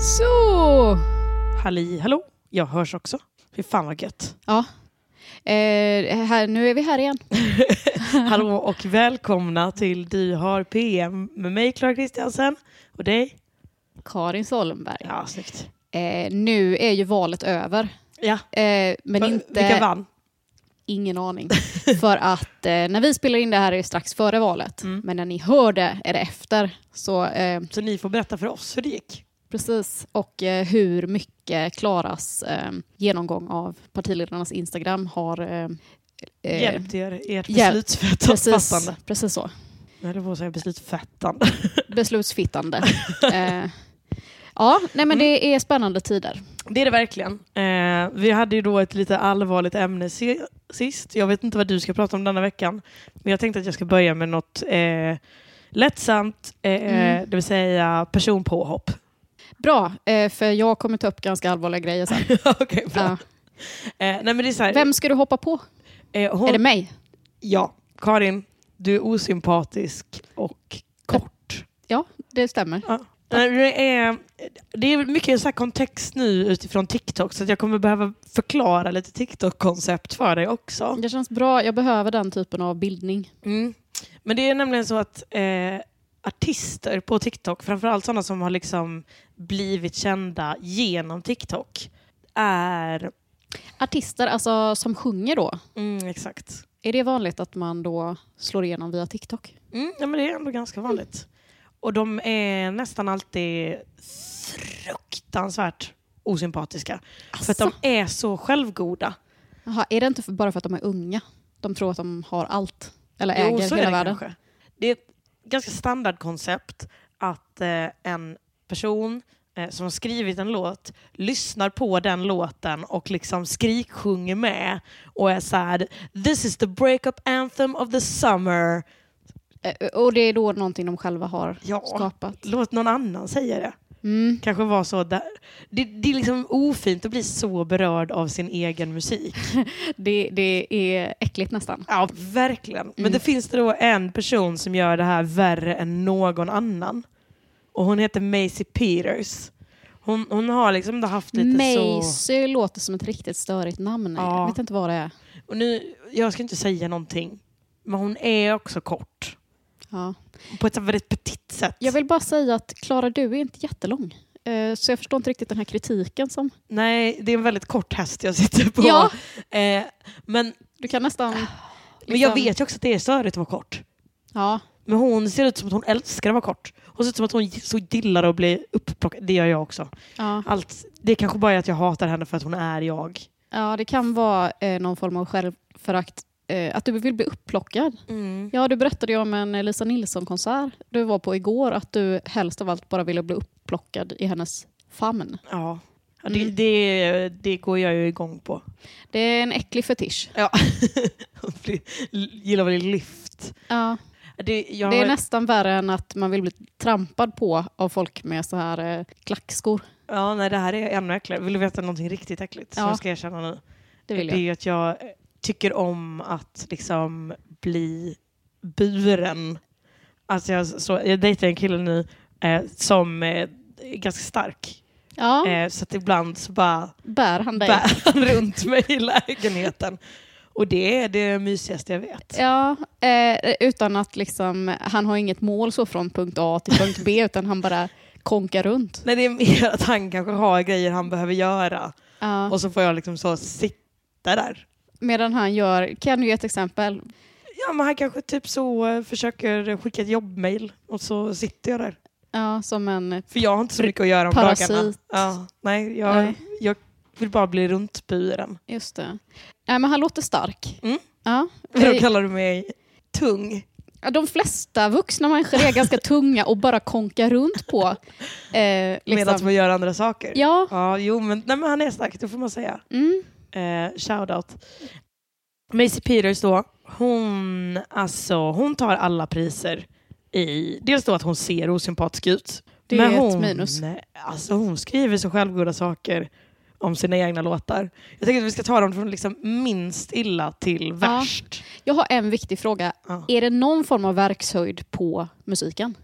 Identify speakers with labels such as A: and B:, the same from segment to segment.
A: Så!
B: Halli hallå, jag hörs också. Fy fan vad gött.
A: Ja. Eh, här, nu är vi här igen.
B: Hallå och välkomna till Du har PM med mig Klara Kristiansen och dig.
A: Karin Solmberg.
B: Ja, snyggt.
A: Eh, nu är ju valet över.
B: Ja,
A: Eh, men
B: va-
A: inte...
B: vilka vann?
A: Ingen aning. För att eh, när vi spelar in det här är det strax före valet.
B: Mm.
A: Men när ni hör det är det efter. Så eh,
B: Så ni får berätta för oss hur det gick.
A: precis. Och eh, hur mycket Klaras eh, genomgång av partiledarnas Instagram har... Eh, eh,
B: Hjälpt er ert
A: hjälp. Precis,
B: beslutsfattande.
A: precis så.
B: Jag höll på att säga beslutsfattande.
A: Beslutsfittande. eh, ja, nej men det är spännande tider.
B: Det är det verkligen. Eh, vi hade ju då ett lite allvarligt ämne se- sist. Jag vet inte vad du ska prata om denna veckan. Men jag tänkte att jag ska börja med något eh, lättsamt, eh,
A: Mm.
B: det vill säga personpåhopp.
A: Bra, eh, för jag kommer ta upp ganska allvarliga grejer sen.
B: Okej, bra.
A: Ja.
B: Eh, nej men det är så här,
A: Vem ska du hoppa på?
B: eh, hon,
A: Är det mig?
B: Ja, Karin, du är osympatisk och kort.
A: Ja, det stämmer.
B: Nej, Det är, det är mycket så här kontext nu utifrån TikTok så att jag kommer behöva förklara lite TikTok-koncept för dig också.
A: Det känns bra, jag behöver den typen av bildning.
B: Mm. Men det är nämligen så att eh, artister på TikTok, framförallt sådana som har liksom blivit kända genom TikTok, är...
A: Artister alltså, som sjunger då,
B: Mm, exakt.
A: är det vanligt att man då slår igenom via TikTok?
B: Mm, ja, men det är ändå ganska vanligt. Och de är nästan alltid fruktansvärt osympatiska. För att de är så självgoda.
A: Jaha, är det inte för, bara för att de är unga? De tror att de har allt, eller
B: Jo,
A: äger
B: så är
A: hela
B: det
A: världen.
B: kanske. Det är ett ganska standardkoncept att eh, en person eh, som har skrivit en låt lyssnar på den låten och liksom skriksjunger med och är så här: This is the breakup anthem of the summer.
A: Eh, Och det är då någonting de själva har
B: Ja,
A: skapat.
B: låt någon annan säga det.
A: Mm.
B: kanske var så där. Det, det är liksom ofint att bli så berörd av sin egen musik.
A: Det, det är äckligt nästan.
B: Ja, verkligen. Men
A: Mm.
B: det finns det då en person som gör det här värre än någon annan. Och hon heter Maisie Peters. Hon, hon har liksom då haft lite så...
A: Macy låter som ett riktigt störigt namn.
B: Ja.
A: Jag vet inte vad det är.
B: Och nu, jag ska inte säga någonting, men hon är också kort.
A: Ja.
B: På ett så väldigt petit sätt.
A: Jag vill bara säga att Klara, du är inte jättelång. Eh, Så jag förstår inte riktigt den här kritiken som...
B: Nej, det är en väldigt kort häst jag sitter på.
A: Ja.
B: Eh, men,
A: Du kan nästan...
B: men
A: Liksom-
B: jag vet ju också att det är störigt att vara kort.
A: Ja,
B: Men hon ser ut som att hon älskar att vara kort. Hon ser ut som att hon så gillar att bli uppplockad. Det gör jag också.
A: ja.
B: Allt, det är kanske bara är att jag hatar henne för att hon är jag.
A: ja, det kan vara eh, någon form av självförakt. Eh, Att du vill bli upplockad. Ja, du berättade ju om en eh, Lisa Nilsson-konsert du var på igår, att du helst av allt bara ville bli upplockad i hennes famn.
B: Ja. Ja, Det,
A: Mm.
B: det, det går jag ju igång på.
A: Det är en äcklig fetisch.
B: Ja. Hon blir- gillar väl lyft.
A: Ja.
B: Det, jag,
A: Det är
B: har-
A: nästan värre än att man vill bli trampad på av folk med så här eh, klackskor.
B: ja, nej, det här är ännu äckligare. Vill du veta någonting riktigt äckligt som
A: Ja.
B: jag ska erkänna nu?
A: Det vill
B: är
A: jag.
B: ju att jag eh, tycker om att liksom bli buren. Alltså jag, så, jag dejtar en kille nu eh, som eh, är ganska stark.
A: Ja,
B: Eh, så att ibland så bara
A: bär han dig?
B: bär han runt mig i lägenheten. Och det är det mysigaste jag vet.
A: Ja, eh, utan att liksom, han har inget mål så från punkt A till punkt B utan han bara konkar runt.
B: Nej, det är mer att han kanske har grejer han behöver göra
A: Ja.
B: och så får jag liksom så sitta där.
A: Medan han gör, kan du ge ett exempel?
B: Ja, men han kanske typ så eh, försöker skicka ett jobbmail och så sitter jag där.
A: Ja, som en...
B: För jag har inte så mycket att göra om
A: Parasit.
B: dagarna. Ja, nej, jag,
A: Nej.
B: jag vill bara bli runtburen.
A: Just det. Nej, men han låter stark.
B: Mm.
A: Ja.
B: Då kallar du mig tung.
A: Ja, De flesta vuxna människor är ganska tunga och bara konkar runt på... Eh,
B: Medan
A: liksom.
B: man gör andra saker.
A: Ja,
B: Ja, jo, men, nej, men han är stark, det får man säga.
A: mm,
B: Eh, shoutout. Macy Peters då, hon, alltså, hon tar alla priser. I, dels då att hon ser osympatisk ut.
A: Det är
B: men
A: ett
B: hon,
A: minus.
B: Alltså, hon skriver så självgoda saker om sina egna låtar. Jag tänker att vi ska ta dem från liksom minst illa till värst.
A: jag har en viktig fråga.
B: Ja.
A: Är det någon form av verkshöjd på musiken?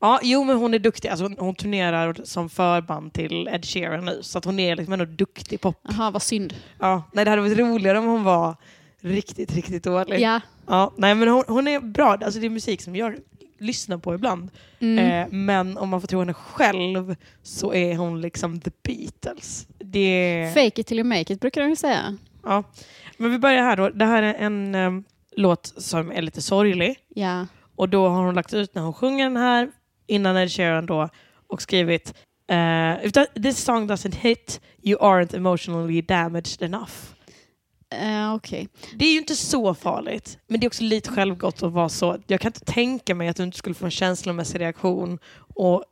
B: Ja, jo men hon är duktig. Alltså, hon- hon turnerar som förband till Ed Sheeran nu, så att hon är liksom ändå duktig pop.
A: Jaha, vad synd.
B: Ja, nej, det hade varit roligare om hon var riktigt, riktigt dålig.
A: Ja.
B: Ja, nej men hon, hon är bra. Alltså det är musik som jag lyssnar på ibland.
A: Mm.
B: Eh, men om man får tro henne själv så är hon liksom the Beatles. Det,
A: Fake it till you make it brukar de ju säga.
B: ja. Men vi börjar här då. Det här är en em, låt som är lite sorglig.
A: Ja.
B: Och då har hon lagt ut när hon sjunger den här innan Ed Sheeran då och skrivit eh, if that, this song doesn't hit, you aren't emotionally damaged enough.
A: Eh, Okej.
B: Det är ju inte så farligt, men det är också lite självgott att vara så. Jag kan inte tänka mig att du inte skulle få en känslomässig reaktion. Och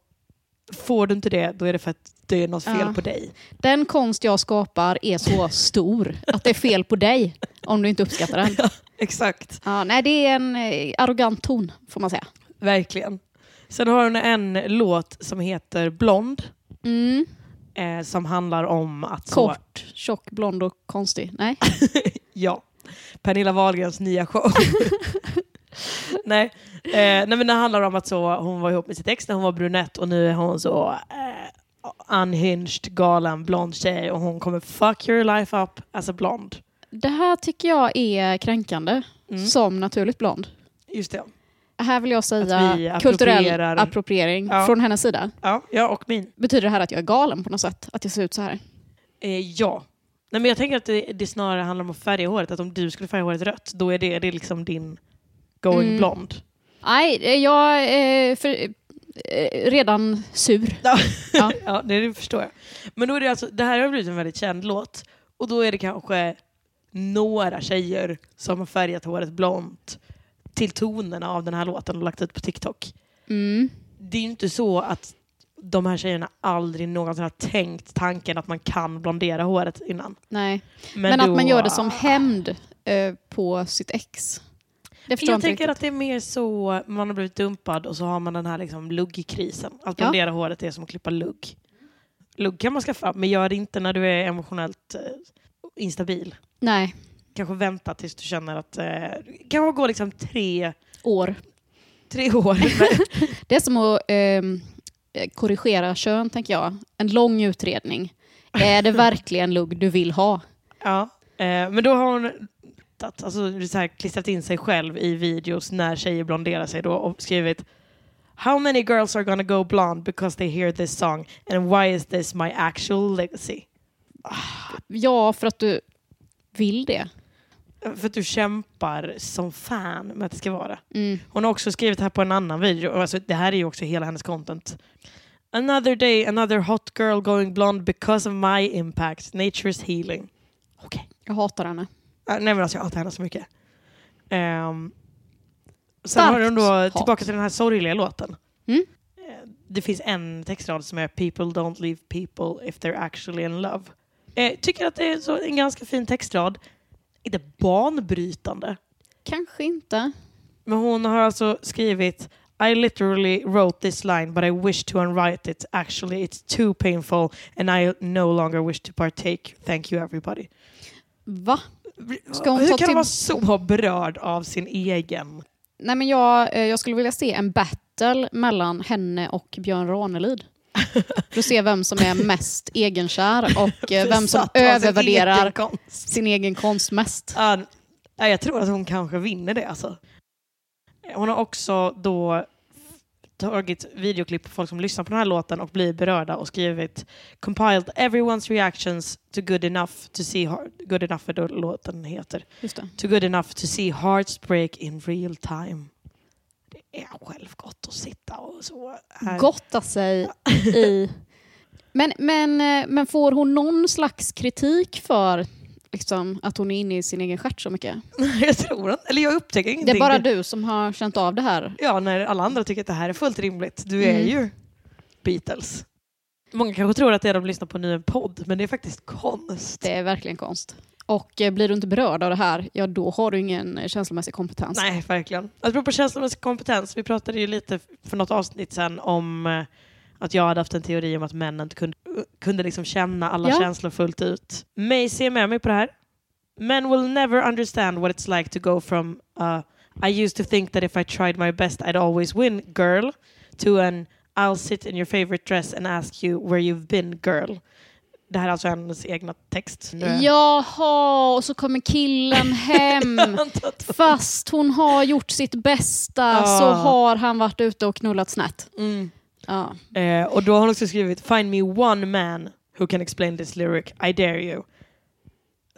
B: får du inte det, då är det för att det är något fel
A: Ja.
B: på dig.
A: Den konst jag skapar är så stor att det är fel på dig om du inte uppskattar den.
B: Exakt,
A: Ja, nej, det är en eh, arrogant ton får man säga.
B: verkligen. Sen har hon en låt som heter Blond,
A: Mm.
B: eh, som handlar om att... så-
A: Kort, tjock, blond och konstig. Nej.
B: Ja. Pernilla Wahlgrens nya show. nej. Eh, nej, men det handlar om att så, hon var ihop med sitt ex när hon var brunett och nu är hon så eh, unhinged, galen, blond tjej och hon kommer fuck your life up as a blond.
A: Det här tycker jag är kränkande
B: Mm.
A: som naturligt blond.
B: Just det.
A: Här vill jag
B: Att vi
A: säga
B: approprierar-
A: kulturell appropriering
B: Ja.
A: från hennes sida.
B: Ja, ja och min.
A: Betyder det här att jag är galen på något sätt? Att jag ser ut så här?
B: Eh, ja. Nej, men jag tänker att det, det snarare handlar om att färga håret. Att om du skulle färga håret rött, då är det, det är liksom din going
A: Mm.
B: blond.
A: Nej, eh, jag är eh, för, eh, redan sur.
B: Ja,
A: Ja.
B: ja det, det förstår jag. Men då är det alltså, det här har blivit en väldigt känd låt. Och då är det kanske några tjejer som har färgat håret blont till tonerna av den här låten och lagt ut på TikTok.
A: Mm.
B: Det är ju inte så att de här tjejerna aldrig någonsin har tänkt tanken att man kan blondera håret innan.
A: Nej. Men, att
B: då-
A: man gör det som hämnd eh, på sitt ex. Det förstår jag
B: Jag
A: inte
B: tänker
A: riktigt.
B: att det är mer så, man har blivit dumpad och så har man den här liksom luggkrisen. Att blondera håret är som att klippa lugg. Lugg kan man skaffa, men gör det inte när du är emotionellt eh, instabil.
A: Nej,
B: Kanske vänta tills du känner att... Eh, kanske gå liksom tre,
A: år.
B: tre år. Men-
A: Det är som att ehm, eh, korrigera kön, tänker jag. En lång utredning. Är det verkligen lugg du vill ha?
B: ja. eh, men då har hon att, alltså, så här, klistrat in sig själv i videos när tjejer blonderar sig då och skrivit How many girls are gonna go blonde because they hear this song and why is this my actual legacy?
A: Ja, för att du vill det.
B: För att du kämpar som fan med att det ska vara det.
A: Mm.
B: Hon har också skrivit här på en annan video, och alltså, det här är ju också hela hennes content. Another day, another hot girl going blonde because of my impact. Nature's healing. Okej.
A: Jag hatar henne.
B: Äh, nej men alltså jag hatar henne så mycket. Um, sen
A: Starkt
B: har hon då
A: hat.
B: tillbaka till den här sorgliga låten.
A: Mm.
B: Eh, Det finns en textrad som är “People don't leave people if they're actually in love”. Eh, tycker att det är så, en ganska fin textrad. Inte banbrytande.
A: Kanske inte.
B: Men hon har alltså skrivit I literally wrote this line but I wish to unwrite it. Actually it's too painful and I no longer wish to partake. Thank you everybody.
A: Va? Ska hon
B: Hur
A: ta
B: kan hon
A: till-
B: vara så berörd av sin egen?
A: Nej, men jag, eh, jag skulle vilja se en battle battle mellan henne och Björn Ranelid. För att se vem som är mest egenkär och eh, vem som
B: Besatt av sin
A: övervärderar
B: egen konst.
A: sin egen konst mest.
B: Ja, ja, jag tror att hon kanske vinner det alltså. Hon har också då tagit videoklipp på folk som lyssnar på den här låten och blir berörda och skrivit compiled everyone's reactions to good enough to see heart- good enough är då låten heter
A: Just det.
B: to good enough to see hearts break in real time. Det är självgott att sitta och så här.
A: Gotta sig i... Men, men, eh, men får hon någon slags kritik för liksom, att hon är inne i sin egen stjärt så mycket?
B: jag tror inte, eller jag upptäcker
A: Det
B: ingenting.
A: är bara du som har känt av det här.
B: Ja, när alla andra tycker att det här är fullt rimligt. Du är
A: Mm.
B: ju Beatles. Många kanske tror att det de lyssnar på nu är en podd, men det är faktiskt konst.
A: Det är verkligen konst. Och eh, blir du inte berörd av det här, ja då har du ingen eh, känslomässig kompetens.
B: Nej, verkligen. Apropå känslomässig kompetens, vi pratade ju lite för något avsnitt sen om eh, att jag hade haft en teori om att män inte kunde, kunde liksom känna alla
A: Ja.
B: känslor fullt ut. Macy är med mig på det här. Men will never understand what it's like to go from uh, I used to think that if I tried my best I'd always win girl to an I'll sit in your favorite dress and ask you where you've been girl. Det här är alltså hennes egna text.
A: Jaha, och så kommer killen hem. Fast hon har gjort sitt bästa
B: Ja.
A: så har han varit ute och knullat snett.
B: Mm.
A: Ja.
B: Eh, och då har hon också skrivit Find me one man who can explain this lyric, I dare you.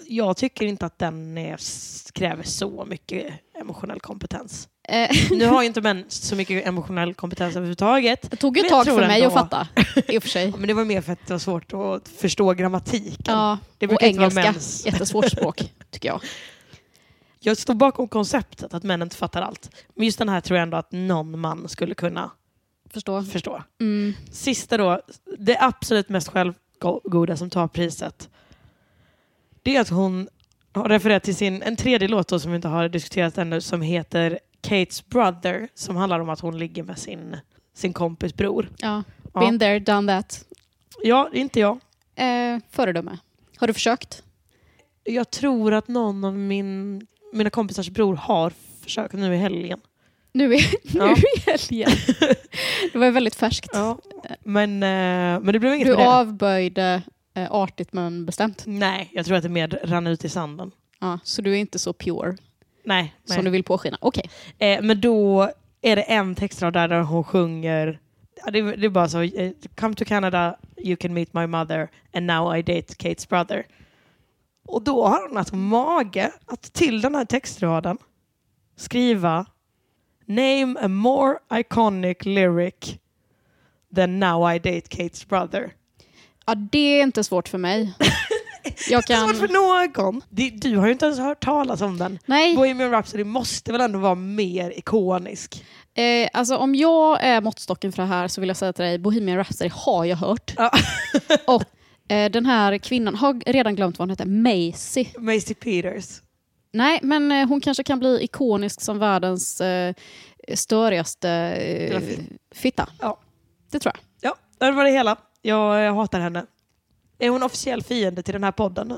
B: Jag tycker inte att den är, s- kräver så mycket emotionell kompetens.
A: Eh,
B: Nu har ju inte män så mycket emotionell kompetens överhuvudtaget.
A: det tog ju
B: Men
A: ett
B: jag
A: tag
B: tror
A: för mig
B: ändå-
A: att fatta, i och för sig.
B: Men det var mer för att det var svårt att förstå grammatiken.
A: Ja,
B: Det
A: och
B: brukar inte vara
A: engelska.
B: mäns.
A: Jättesvårt språk, tycker jag.
B: Jag står bakom konceptet att män inte fattar allt. Men just den här tror jag ändå att någon man skulle kunna
A: Förstå.
B: förstå.
A: Mm.
B: Sista då, det absolut mest självgoda som tar priset. Det är att hon har refererat till sin, en tredje låt då, som vi inte har diskuterat ännu som heter Kates Brother som handlar om att hon ligger med sin, sin kompis bror.
A: Ja.
B: Ja.
A: Been there, done that.
B: Ja, det är inte jag.
A: Eh, föredöme. Har du försökt?
B: Jag tror att någon av min, mina kompisars bror har försökt nu i helgen.
A: Nu är,
B: Ja.
A: nu i helgen. Det var ju väldigt färskt.
B: Ja. Men, eh, men det blev inget
A: Du
B: med det.
A: avböjde eh, artigt men bestämt.
B: Nej, jag tror att det mer rann ut i sanden.
A: Ja, så du är inte så pure
B: Nej, nej.
A: som du vill påskina. Okej.
B: Eh, men då är det en textrad där, där hon sjunger ja, det, är- det är bara så eh, Come to Canada, you can meet my mother and now I date Kates brother. Och då har hon alltså mage att till den här textraden skriva Name a more iconic lyric than now I date Kates brother.
A: Ja, det är inte svårt för mig. Jag
B: Det är
A: kan...
B: svårt för någon. Det, du har ju inte ens hört talas om den.
A: Nej,
B: Bohemian Rhapsody måste väl ändå vara mer ikonisk?
A: eh, alltså om jag är måttstocken för det här så vill jag säga till dig, Bohemian Rhapsody har jag hört.
B: Ja.
A: Och eh, den här kvinnan, har redan glömt vad hon heter, Macy.
B: Macy Peters.
A: Nej, men eh, hon kanske kan bli ikonisk som världens eh, störigaste
B: Lilla
A: eh,
B: fitt.
A: fitta.
B: Ja.
A: Det tror jag.
B: Ja, det var det hela. Jag eh, hatar henne. Är hon officiell fiende till den här podden nu?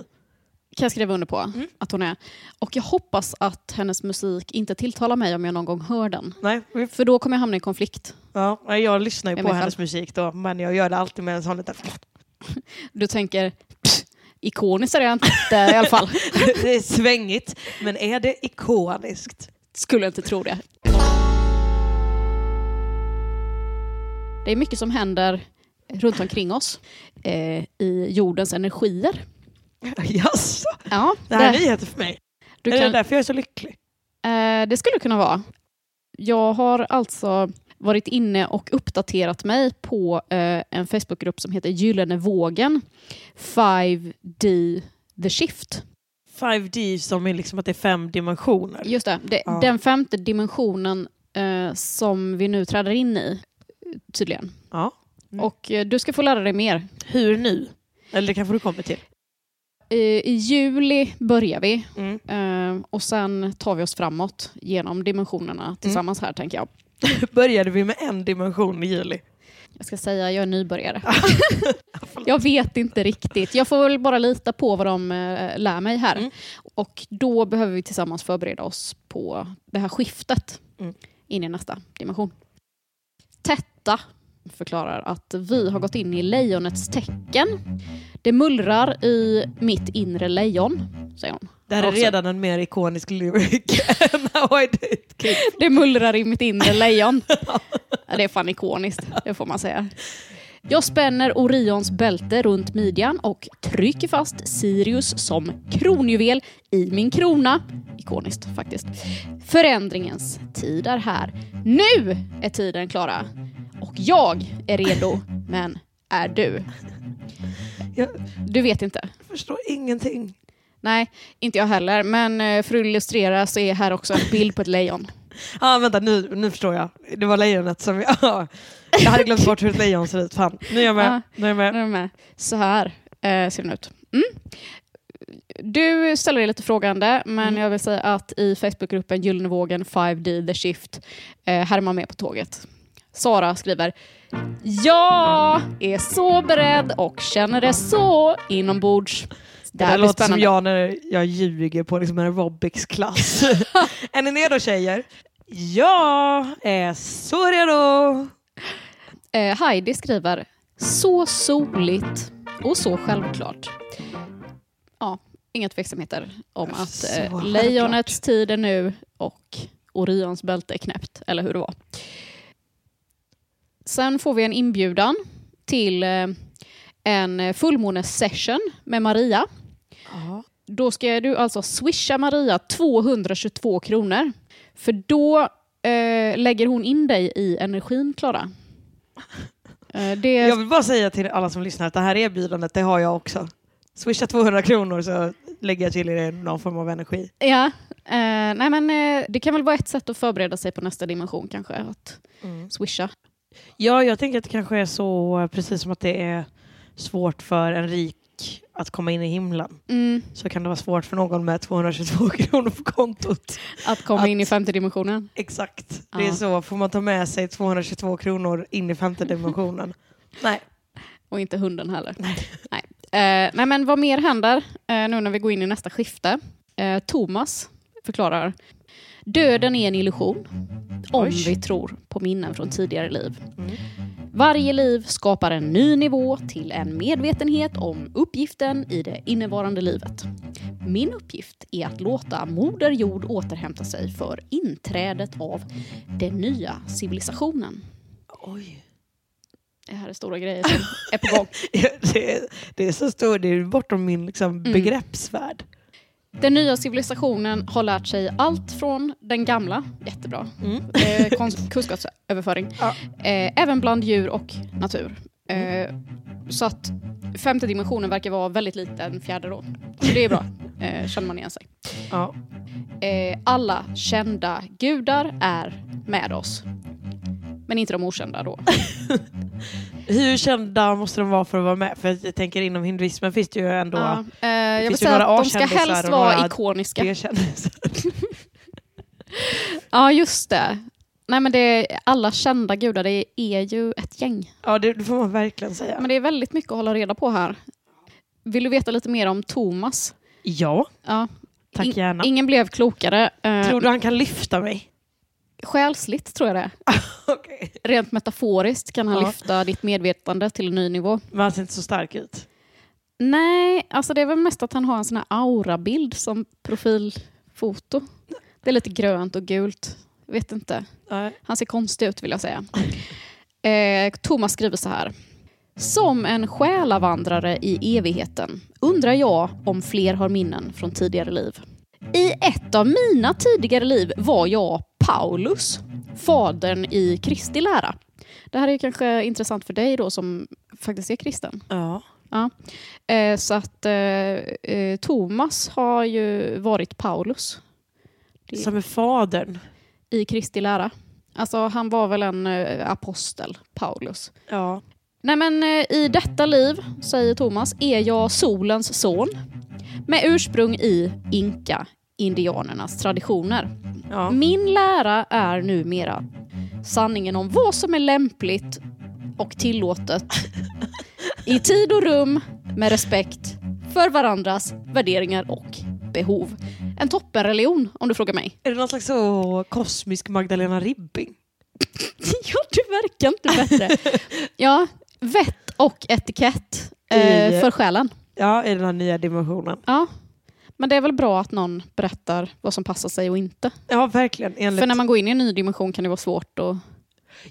A: Kan jag skriva under på
B: Mm.
A: att hon är. Och jag hoppas att hennes musik inte tilltalar mig om jag någon gång hör den.
B: Nej, vi-
A: För då kommer jag hamna i konflikt.
B: ja, nej, jag lyssnar ju
A: Jag
B: på
A: vet
B: hennes musik då, men jag gör det alltid med en sån liten...
A: Du tänker, "Pff, ikoniskt är det inte i alla fall.
B: det är svängigt, men är det ikoniskt?
A: Skulle inte tro det. Det är mycket som händer runt omkring oss eh, i jordens energier.
B: Jaså,
A: Ja,
B: det här är
A: där-
B: nyheter för mig.
A: du
B: Är det
A: kan-
B: därför jag är så lycklig?
A: Eh, det skulle kunna vara. Jag har alltså varit inne och uppdaterat mig på eh, en Facebookgrupp som heter Gyllene vågen 5D The Shift.
B: 5D som är liksom att det är fem dimensioner.
A: Just det, det
B: Ja.
A: den femte dimensionen eh, som vi nu träder in i, tydligen.
B: Ja. Mm.
A: Och eh, du ska få lära dig mer
B: Hur nu? Eller det kanske du kommer till.
A: Eh, I juli börjar vi
B: Mm.
A: eh, och sen tar vi oss framåt genom
B: Mm.
A: dimensionerna tillsammans här tänker jag.
B: Började vi med en dimension i juli?
A: Jag ska säga jag är nybörjare. jag vet inte riktigt. Jag får väl bara lita på vad de eh, lär mig här.
B: Mm.
A: Och då behöver vi tillsammans förbereda oss på det här skiftet
B: Mm.
A: in i nästa dimension. Tetta förklarar att vi har gått in i lejonets tecken. Det mullrar i mitt inre lejon, säger hon.
B: Det här är
A: Också.
B: redan en mer ikonisk lyric än How I Did Kick.
A: Det mullrar i mitt inre lejon. Ja, Det är fan ikoniskt, det får man säga. Jag spänner Orions bälte runt midjan och trycker fast Sirius som kronjuvel i min krona. Ikoniskt faktiskt. Förändringens tid är här. Nu är tiden, Klara. Och jag är redo, men är du?
B: Jag
A: Du vet inte.
B: förstår ingenting.
A: Nej, inte jag heller. Men eh, för att illustrera så är här också en bild på ett lejon.
B: Ah, vänta, nu, nu förstår jag. Det var lejonet som jag... jag hade glömt bort hur ett lejon ser ut. Fan, nu är jag med.
A: Ah.
B: Nu är jag med.
A: Nu är de med. Så här eh, ser den ut. Mm. Du ställer dig lite frågande, men
B: Mm.
A: jag vill säga att i Facebookgruppen Gyllene vågen 5D The Shift, eh, här är man med på tåget. Sara skriver Jag är så beredd och känner det så inombords.
B: Det
A: Det
B: där
A: här blir
B: låter som
A: spännande.
B: jag när jag ljuger på liksom en aerobics-klass. är ni redo tjejer? Jag är så redo!
A: Eh, Heidi skriver Så soligt och så självklart. Ja, inga tveksamheter om
B: Så
A: att eh,
B: självklart.
A: lejonets tid är nu och Orions bälte är knäppt, eller hur det var. Sen får vi en inbjudan till eh, en fullmånesession med Maria. Då ska du alltså swisha Maria 222 kronor. För då eh, lägger hon in dig i energin, Klara. Eh, det,
B: Jag vill bara säga till alla som lyssnar att det här erbjudandet, det har jag också. Swisha 200 kronor så lägger jag till er någon form av energi.
A: ja, eh, nej men, eh, det kan väl vara ett sätt att förbereda sig på nästa dimension kanske, att
B: Mm.
A: swisha.
B: Ja, jag tänker att det kanske är så, precis som att det är svårt för en rik att komma in i himlen,
A: Mm,
B: så kan det vara svårt för någon med 222 kronor på kontot.
A: att komma
B: Att-
A: in i femte dimensionen.
B: Exakt, det är
A: Ja.
B: så. Får man ta med sig 222 kronor in i femte dimensionen? Nej.
A: Och inte hunden heller. Nej. Nej. Eh, nej men vad mer händer eh, nu när vi går in i nästa skifte? Eh, Thomas förklarar. Döden är en illusion om
B: Oj.
A: vi tror på minnen från tidigare liv. Varje liv skapar en ny nivå till en medvetenhet om uppgiften i det innevarande livet. Min uppgift är att låta Moder Jord återhämta sig för inträdet av den nya civilisationen.
B: Oj.
A: Det här är stora grejer som är på gång.
B: Det är, det är så stort, det är bortom min liksom, begreppsvärld.
A: Den nya civilisationen har lärt sig allt från den gamla, jättebra, eh, kons- kunskapsöverföring,
B: Ja.
A: eh, även bland djur och natur. Eh, så att femte dimensionen verkar vara väldigt lik den fjärde då. Så det är bra, eh, känner man igen sig.
B: Ja.
A: Eh, alla kända gudar är med oss. Men inte de okända då.
B: Hur kända måste de vara för att vara med? För jag tänker inom hinduismen finns det ju ändå
A: Ja, eh, jag vill
B: finns ju
A: säga
B: några
A: att de ska
B: A-kändisar
A: helst
B: och
A: vara
B: några
A: ikoniska.
B: det kändes.
A: Ja, just det. Nej, men det är alla kända gudar, det är ju ett gäng.
B: Ja, det, det får man verkligen säga.
A: Men det är väldigt mycket att hålla reda på här. Vill du veta lite mer om Thomas?
B: ja,
A: Ja.
B: tack
A: In-
B: gärna.
A: Ingen blev klokare. Eh,
B: Tror du han kan lyfta mig?
A: Själsligt tror jag det.
B: Okej.
A: Rent metaforiskt kan han
B: Ja.
A: lyfta ditt medvetande till en ny nivå.
B: Men han ser inte så stark ut.
A: Nej, alltså det är väl mest att han har en sån här aurabild som profilfoto. Det är lite grönt och gult. Vet inte.
B: Nej.
A: Han ser konstig ut vill jag säga. Eh, Thomas skriver så här. Som en själavandrare i evigheten undrar jag om fler har minnen från tidigare liv. I ett av mina tidigare liv var jag Paulus, fadern i Kristi lära. Det här är ju kanske intressant för dig då som faktiskt är kristen.
B: Ja.
A: Ja. Eh, så att eh, eh, Thomas har ju varit Paulus Det-
B: Som är fadern.
A: i Kristi lära. Alltså han var väl en eh, apostel, Paulus.
B: Ja.
A: Nej men eh, i detta liv, säger Thomas, är jag solens son med ursprung i inka indianernas traditioner.
B: ja.
A: Min lära är numera sanningen om vad som är lämpligt och tillåtet i tid och rum med respekt för varandras värderingar och behov. En toppenreligion om du frågar mig.
B: Är det någon slags så kosmisk Magdalena Ribbing?
A: ja, du verkar inte bättre. ja, vett och etikett eh,
B: I-
A: för själen.
B: Ja, i den här nya dimensionen.
A: Ja. Men det är väl bra att någon berättar vad som passar sig och inte.
B: Ja, verkligen. Enligt...
A: För när man går in i en ny dimension kan det vara svårt att...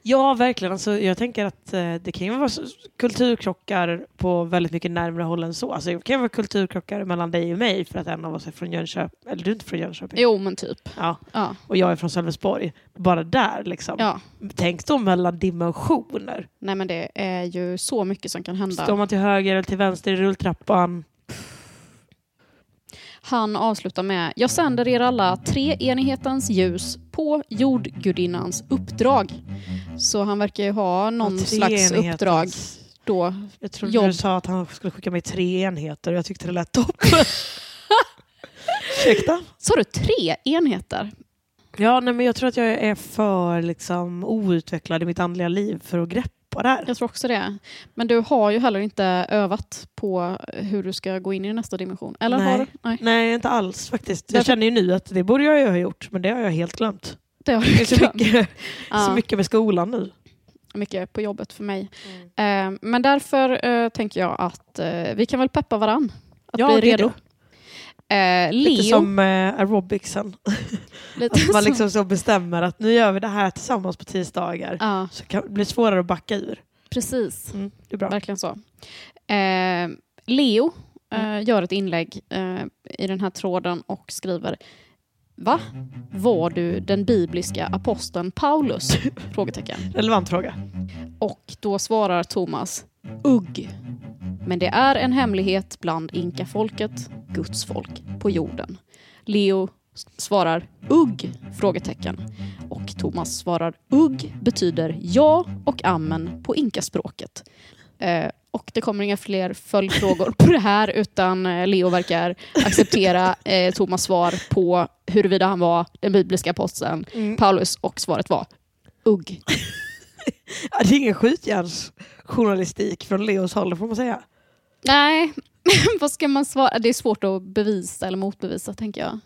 B: Ja, verkligen. Alltså, jag tänker att eh, det kan ju vara så- kulturkrockar på väldigt mycket närmare håll än så. Alltså, det kan ju vara kulturkrockar mellan dig och mig för att en av oss är från Jönköping. Eller du är inte från Jönköping.
A: Jo, men typ.
B: Ja,
A: Ja.
B: och jag är från Sölvesborg. Bara där liksom.
A: ja.
B: Tänk då mellan dimensioner.
A: Nej, men det är ju så mycket som kan hända.
B: Står man till höger eller till vänster i rulltrappan?
A: Han avslutar med Jag sänder er alla treenighetens ljus på jordgudinnans uppdrag. Så han verkar ju ha någon
B: Ja,
A: slags
B: treenighetens-
A: uppdrag då.
B: Jag trodde
A: Jobb.
B: du sa att han skulle skicka mig tre enheter och jag tyckte det lät toppen. Ursäkta?
A: Sa du tre enheter?
B: Ja, nej, men jag tror att jag är för liksom, outvecklad i mitt andliga liv för att greppa det här.
A: Jag tror också det. Men du har ju heller inte övat på hur du ska gå in i nästa dimension. Eller
B: Nej.
A: har du? Nej.
B: Nej, inte alls faktiskt. Jag
A: Därför-
B: känner ju nu att det borde jag ju ha gjort, men det har jag helt glömt.
A: Det har
B: Det
A: du
B: är så
A: glömt.
B: mycket, så
A: Ja.
B: mycket med skolan nu.
A: mycket på jobbet för mig. Eh, men därför eh, tänker jag att eh, vi kan väl peppa varann. Att
B: Ja,
A: bli
B: det är
A: redo. Eh, Leo.
B: Lite som eh, aerobicsen.
A: lite
B: Att man
A: som-
B: liksom så bestämmer att nu gör vi det här tillsammans på tisdagar.
A: Ja,
B: Så kan det blir svårare att backa ur.
A: precis.
B: Mm, det är bra.
A: Verkligen så. Eh, Leo eh, gör ett inlägg eh, i den här tråden och skriver Va? Var du den bibliska aposteln Paulus? Frågetecken.
B: Relevant fråga.
A: Och då svarar Thomas Ugg. Men det är en hemlighet bland inkafolket, Guds folk på jorden. Leo s- svarar Ugg? Frågetecken. Och Thomas svarar Ugg betyder ja och amen på inkaspråket. Eh, och det kommer inga fler följdfrågor på det här utan eh, Leo verkar acceptera eh, Thomas svar på huruvida han var den bibliska aposteln
B: Mm.
A: Paulus och svaret var Ugg.
B: Ja, det är ingen skjutjärnsjournalistik från Leos håll, det får man säga.
A: Nej, vad ska man svara? Det är svårt att bevisa eller motbevisa tänker jag.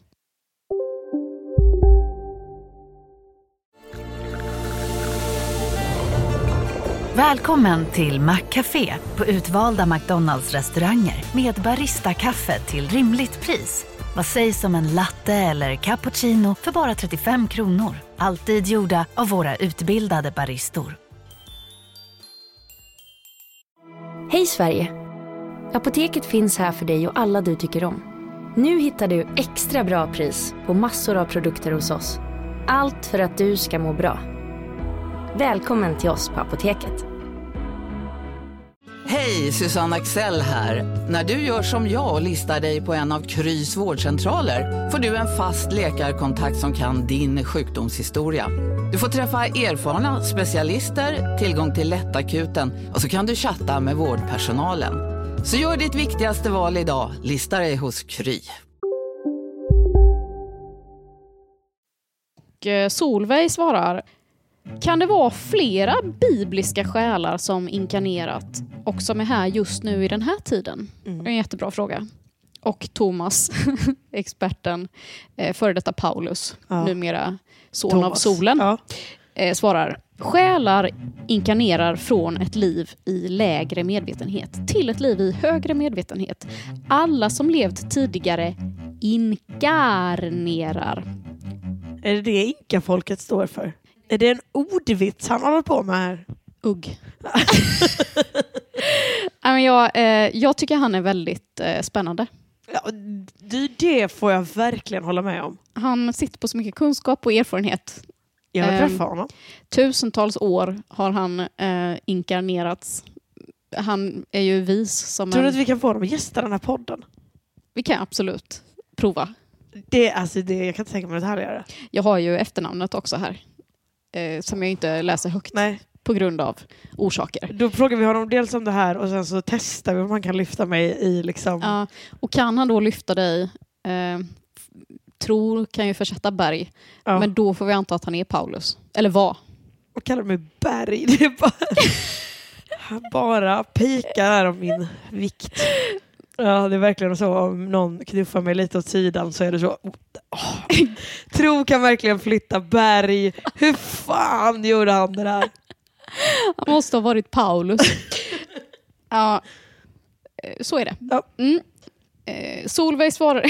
C: Välkommen till Maccafé på utvalda McDonalds restauranger med Baristakaffe till rimligt pris. Vad sägs om en latte eller cappuccino för bara 35 kronor? Alltid gjorda av våra utbildade baristor.
D: Hej Sverige! Apoteket finns här för dig och alla du tycker om. Nu hittar du extra bra pris på massor av produkter hos oss. Allt för att du ska må bra. Välkommen till oss på Apoteket.
E: Hej, Susanne Axel här. När du gör som jag och listar dig på en av Krys vårdcentraler får du en fast läkarkontakt som kan din sjukdomshistoria. Du får träffa erfarna specialister, tillgång till lättakuten och så kan du chatta med vårdpersonalen. Så gör ditt viktigaste val idag, listar dig hos Kry.
A: Och eh, Solveig svarar Kan det vara flera bibliska själar som inkarnerat och som är här just nu i den här tiden?
B: Mm.
A: Det är en jättebra fråga. Och Thomas, experten, eh, före detta Paulus,
B: Ja.
A: numera son av
B: Thomas.
A: solen.
B: Ja.
A: eh, svarar Själar inkarnerar från ett liv i lägre medvetenhet till ett liv i högre medvetenhet. Alla som levt tidigare inkarnerar.
B: Är det det inkafolket står för? Är det en ordvits han håller på med här?
A: Ugg. Nej, men jag, eh, jag tycker han är väldigt eh, spännande.
B: Ja, det, det får jag verkligen hålla med om.
A: Han sitter på så mycket kunskap och erfarenhet.
B: Jag vill
A: Ehm.
B: träffa honom.
A: Tusentals år har han eh, inkarnerats. Han är ju vis som
B: Tror du
A: en...
B: att vi kan få honom att gästa den här podden?
A: vi kan absolut prova.
B: Det, alltså, det, jag kan inte tänka mig något härligare.
A: Jag har ju efternamnet också här. Eh, som jag inte läser högt
B: Nej,
A: på grund av orsaker.
B: då frågar vi honom dels om det här och sen så testar vi om han kan lyfta mig i liksom...
A: Ja, och kan han då lyfta dig, eh, f- tror kan ju försätta berg,
B: Ja.
A: men då får vi anta att han är Paulus. Eller var.
B: Och kallar mig berg. Det är bara, han bara pikar här om min vikt. Ja, det är verkligen så. Om någon knuffar mig lite åt sidan så är det så. Åh. Tro kan verkligen flytta berg. Hur fan gjorde han det där?
A: Han måste ha varit Paulus. ja, eh, så är det.
B: Ja.
A: Mm. Eh, Solveig svarar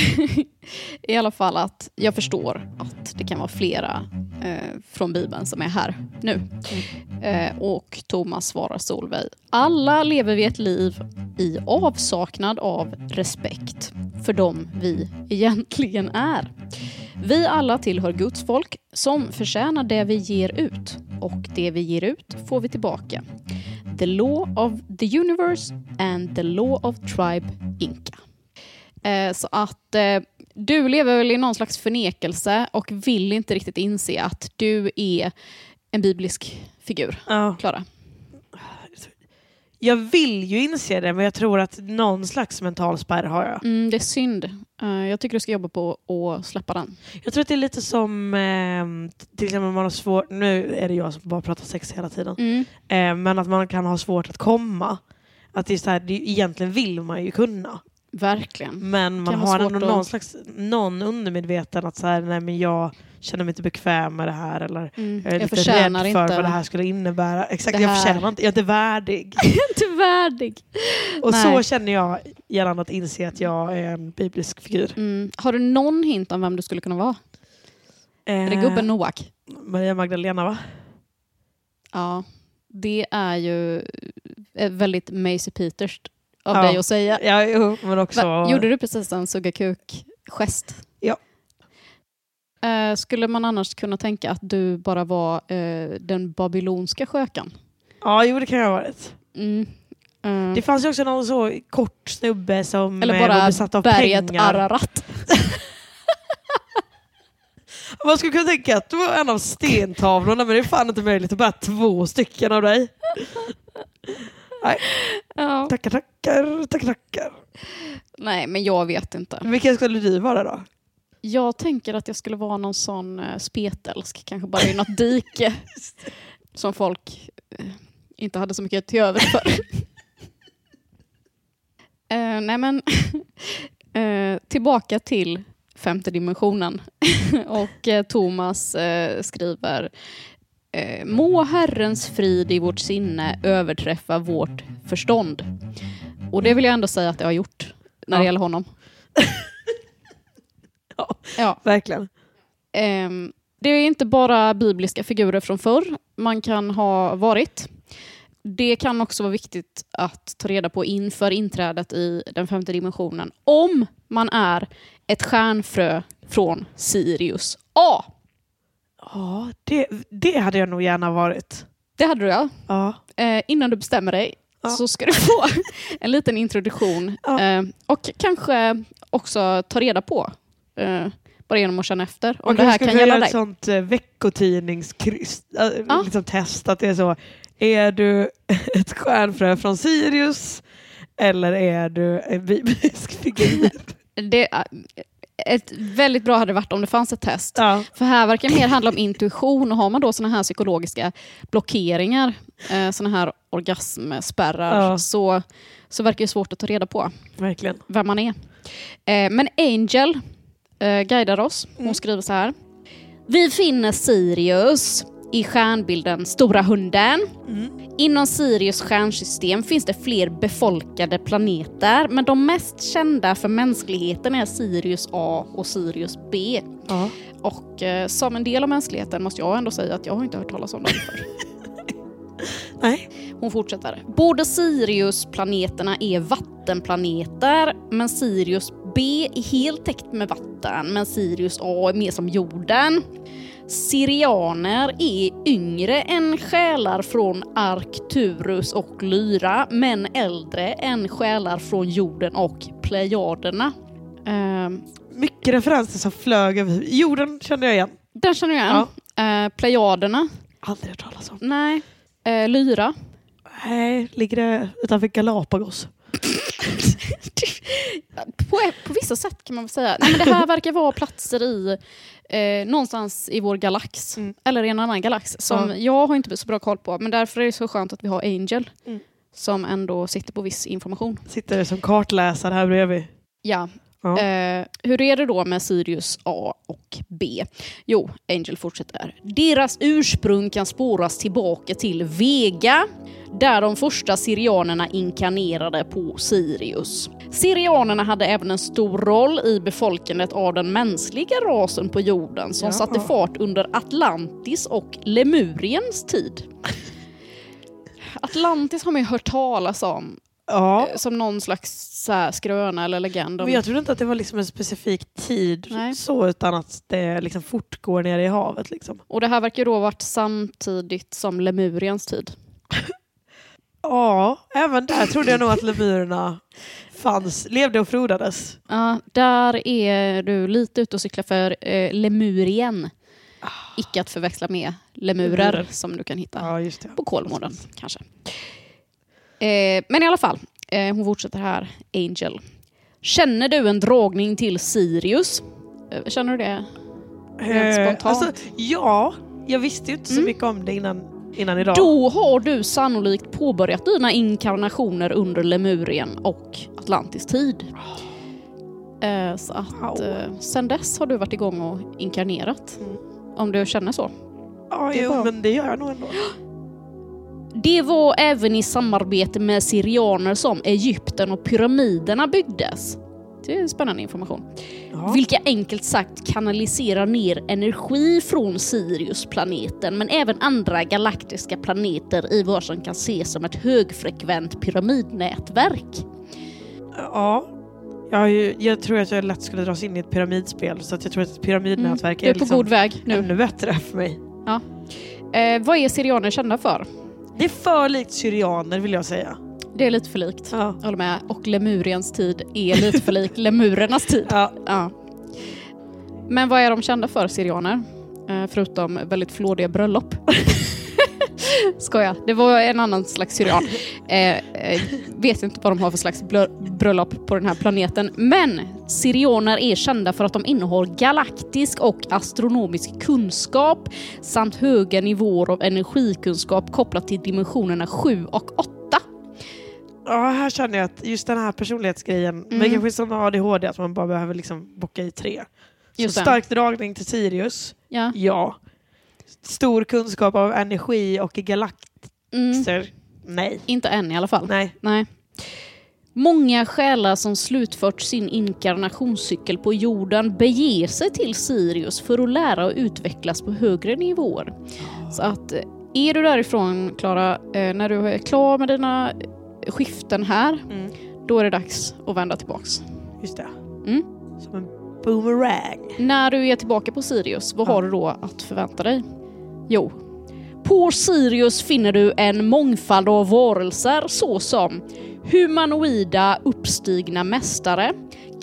A: i alla fall att jag förstår att det kan vara flera eh, från Bibeln som är här nu. Eh, och Thomas svarar Solveig. Alla lever vi ett liv i avsaknad av respekt för dem vi egentligen är. Vi alla tillhör Guds folk som förtjänar det vi ger ut och det vi ger ut får vi tillbaka. The Law of the Universe and The Law of Tribe Inca. Eh, så att eh, du lever väl i någon slags förnekelse och vill inte riktigt inse att du är en biblisk figur,
B: Ja.
A: Klara.
B: Jag vill ju inse det men jag tror att någon slags mental spärr har jag.
A: Mm, det är synd. Eh, jag tycker du ska jobba på att släppa den.
B: Jag tror att det är lite som eh, till exempel man har svårt, nu är det jag som bara pratar sex hela tiden,
A: Mm.
B: eh, men att man kan ha svårt att komma. Att det är så här, det, egentligen vill man ju kunna
A: Verkligen.
B: men man
A: Kan vara
B: har
A: svårt
B: ändå
A: att-
B: någon slags någon undermedveten att så här, nej men jag känner mig inte bekväm med det här eller
A: Mm.
B: jag är
A: Jag
B: lite rädd
A: förtjänar
B: för
A: inte...
B: vad det här skulle innebära. Exakt,
A: Det
B: jag
A: här.
B: förtjänar inte, jag är inte värdig.
A: inte värdig.
B: Och så
A: Nej.
B: känner jag gällande att inse att jag är en biblisk figur.
A: Mm. Har du någon hint om vem du skulle kunna vara? Är
B: Eh.
A: det gubben Noak?
B: Maria Magdalena va?
A: Ja, det är ju eh, väldigt Maisie Peters av
B: Ja.
A: dig att säga.
B: Ja, jo, men också...
A: Va, gjorde du precis en sugga kuk-gest?
B: Ja.
A: Eh, skulle man annars kunna tänka att du bara var eh, den babylonska skökan?
B: Ja, jo det kan jag ha varit.
A: Mm. Eh,
B: Det fanns ju också någon så kort snubbe som eh,
A: eller
B: var
A: bara
B: besatt av
A: berget
B: pengar.
A: Ararat.
B: Man skulle kunna tänka att du var en av stentavlorna men det är fan inte möjligt att bara två stycken av dig.
A: Ja.
B: Tackar, tackar, tackar, tackar.
A: Nej, men jag vet inte.
B: Vilken skulle du vara då?
A: Jag tänker att jag skulle vara någon sån eh, spetälsk, kanske bara i något dike som folk eh, inte hade så mycket till övers för. Eh, nej men, eh, tillbaka till femte dimensionen. och eh, Thomas eh, skriver eh, Må Herrens frid i vårt sinne överträffa vårt förstånd. Och det vill jag ändå säga att det har gjort när det
B: Ja.
A: gäller honom.
B: Ja.
A: ja.
B: Verkligen.
A: Ehm, det är inte bara bibliska figurer från förr man kan ha varit. Det kan också vara viktigt att ta reda på inför inträdet i den femte dimensionen om man är ett stjärnfrö från Sirius A.
B: Ja, det, det hade jag nog gärna varit.
A: Det hade du ja.
B: Ja.
A: Eh, innan du bestämmer dig
B: Ja.
A: så ska du få en liten introduktion
B: Ja.
A: eh, och kanske också ta reda på eh, bara genom att känna efter om
B: Man
A: det här
B: kanske
A: kan
B: skulle
A: gälla
B: göra
A: dig.
B: ett sånt eh, veckotidningskryss, äh,
A: Ja.
B: liksom test att det är så. Är du ett stjärnfrö från Sirius eller är du en biblisk figur?
A: det, äh, ett väldigt bra hade det varit om det fanns ett test.
B: ja.
A: För här verkar det mer handla om intuition och har man då såna här psykologiska blockeringar, eh, såna här orgasmspärrar,
B: Ja.
A: så, så verkar det svårt att ta reda på
B: Verkligen.
A: vem man är. Eh, men Angel eh, guidar oss. Hon skriver så här. Vi finner Sirius i stjärnbilden Stora hunden. Inom Sirius stjärnsystem finns det fler befolkade planeter men de mest kända för mänskligheten är Sirius A och Sirius B.
B: Ja.
A: Och eh, som en del av mänskligheten måste jag ändå säga att jag har inte hört talas om dem förr.
B: Nej.
A: Hon fortsätter. Båda Siriusplaneterna är vattenplaneter, men Sirius B är helt täckt med vatten, men Sirius A är mer som jorden. Sirianer är yngre än själar från Arcturus och Lyra, men äldre än själar från jorden och Plejaderna. Ehm,
B: Mycket referenser som flög över huvudet. Jorden kände jag igen.
A: den känner jag igen. Eh, plejaderna?
B: Aldrig hört talas om.
A: Nej. Eh, lyra?
B: Nej, ligger det utanför Galapagos?
A: på, på vissa sätt kan man väl säga. Nej, men det här verkar vara platser i eh, någonstans i vår galax,
B: Mm.
A: eller i en annan galax, som
B: Ja.
A: jag har inte så bra koll på. Men därför är det så skönt att vi har Angel,
B: Mm.
A: som ändå sitter på viss information.
B: Sitter som kartläsare här bredvid.
A: Ja.
B: Ja.
A: Eh, hur är det då med Sirius A och B? Jo, Angel fortsätter. Deras ursprung kan spåras tillbaka till Vega, där de första Sirianerna inkarnerade på Sirius. Sirianerna hade även en stor roll i befolkandet av den mänskliga rasen på jorden som
B: Ja.
A: satte fart under Atlantis och Lemuriens tid. Atlantis har man ju hört talas om,
B: Ja.
A: som någon slags så här, skröna eller legend. Om,
B: Men jag trodde inte att det var liksom en specifik tid
A: Nej.
B: så, utan att det liksom fortgår nere i havet. Liksom.
A: Och det här verkar ju då ha varit samtidigt som Lemuriens tid.
B: Ja, även där trodde jag nog att lemurerna fanns, levde och frodades.
A: Ja, där är du lite ute och cyklar för eh, Lemurien. Icke att förväxla med Ah. lemurer
B: Lemurer.
A: som du kan hitta
B: Ja, just det.
A: på Kolmården kanske. Eh, men i alla fall, eh, hon fortsätter här, Angel. Känner du en dragning till Sirius? Eh, Känner du det? Rent
B: Eh,
A: spontant.
B: alltså, ja, jag visste ju inte så
A: Mm.
B: mycket om det innan, innan idag.
A: Då har du sannolikt påbörjat dina inkarnationer under Lemurien och Atlantis tid. Eh, Så att
B: Wow.
A: eh, sen dess har du varit igång och inkarnerat.
B: Mm.
A: Om du känner så.
B: ja,
A: det är
B: jo,
A: bra.
B: men det gör jag nog ändå.
A: Det var även i samarbete med syrianer som Egypten och pyramiderna byggdes. Det är spännande information.
B: Ja.
A: Vilka enkelt sagt kanaliserar ner energi från Sirius-planeten men även andra galaktiska planeter i vad som kan ses som ett högfrekvent pyramidnätverk.
B: Ja. Jag, har ju, jag tror att jag lätt skulle dras in i ett pyramidspel så att jag tror att ett pyramidnätverk
A: Du Mm. är
B: är
A: på
B: liksom
A: god väg nu.
B: ännu bättre för mig.
A: Eh, vad är syrianer kända för?
B: Det är för likt syrianer vill jag säga.
A: Det är lite för likt.
B: Ja.
A: Jag håller med. Och lemuriens tid är lite för lik lemurernas tid.
B: Ja.
A: Ja. Men vad är de kända för, syrianer? Eh, förutom väldigt flådiga bröllop. Skoja, det var en annan slags syrian. Eh, eh, vet inte vad de har för slags blö- bröllop på den här planeten. Men syrianer är kända för att de innehar galaktisk och astronomisk kunskap samt höga nivåer av energikunskap kopplat till dimensionerna 7 och 8.
B: Ja, här känner jag att just den här personlighetsgrejen,
A: Mm.
B: men kanske som med ADHD, att man bara behöver liksom bocka i tre.
A: Just
B: så
A: det.
B: stark dragning till Sirius,
A: Ja.
B: ja. Stor kunskap av energi och galakter,
A: Mm.
B: nej.
A: Inte än i alla fall.
B: Nej.
A: Nej. Många själar som slutfört sin inkarnationscykel på jorden beger sig till Sirius för att lära och utvecklas på högre nivåer. Så att eh, är du därifrån, Klara, eh, när du är klar med dina eh, skiften här,
B: Mm.
A: då är det dags att vända tillbaks.
B: Just det.
A: Mm.
B: Som en boomerang.
A: När du är tillbaka på Sirius, vad
B: Ja.
A: har du då att förvänta dig? Jo, på Sirius finner du en mångfald av varelser såsom humanoida uppstigna mästare,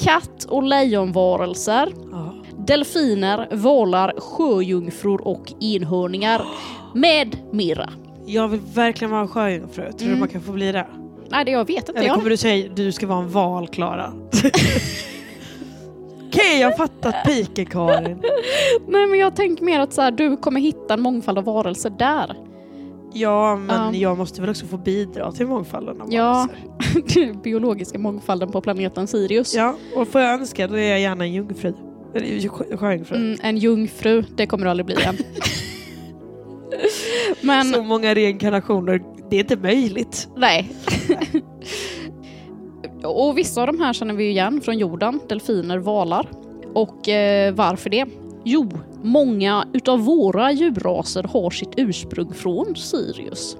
A: katt och lejonvarelser,
B: Ja.
A: delfiner, valar, sjöjungfrur och enhörningar med mera.
B: Jag vill verkligen vara en sjöjungfru, tror
A: Mm.
B: du man kan få bli det?
A: Nej, det jag vet inte.
B: Eller
A: Jag.
B: kommer du säga du ska vara en val, Klara? Okej, jag har fattat piken Karin.
A: Nej, men jag tänker mer att så här, du kommer hitta en mångfald av varelser där.
B: Ja, men
A: Ja.
B: jag måste väl också få bidra till mångfalden av
A: Ja.
B: varelser.
A: Den biologiska mångfalden på planeten Sirius.
B: Ja, och får jag önska då är jag gärna en jungfru. Eller ju- sjö- sjöjungfru.
A: Mm, en jungfru, det kommer du aldrig bli än. Men
B: Så många reinkarnationer, det är inte möjligt.
A: nej. och vissa av de här känner vi ju igen från jorden, delfiner, valar. Och eh, varför det? Jo, många utav våra djurraser har sitt ursprung från Sirius.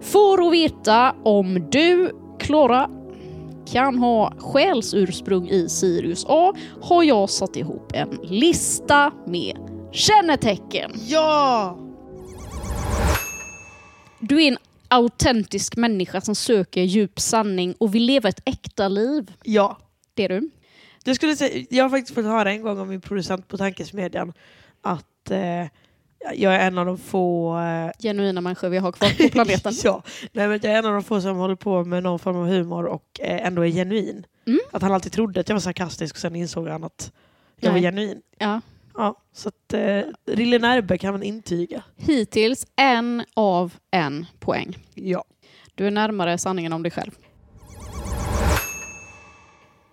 A: För att veta om du, Klara, kan ha själsursprung i Sirius A har jag satt ihop en lista med kännetecken.
B: Ja!
A: Du är en autentisk människa som söker djup sanning och vill leva ett äkta liv.
B: Ja.
A: Det är du.
B: Du skulle säga, jag har faktiskt fått höra en gång av min producent på Tankesmedjan att eh, jag är en av de få... Eh,
A: Genuina människor vi har kvar på planeten.
B: ja, nej, men jag är en av de få som håller på med någon form av humor och eh, ändå är genuin.
A: Mm.
B: Att han alltid trodde att jag var sarkastisk och sen insåg han att jag
A: Nej.
B: var genuin.
A: Ja.
B: Ja, så att eh, Rille Närbe kan man intyga.
A: Hittills en av en poäng.
B: Ja.
A: Du är närmare sanningen om dig själv.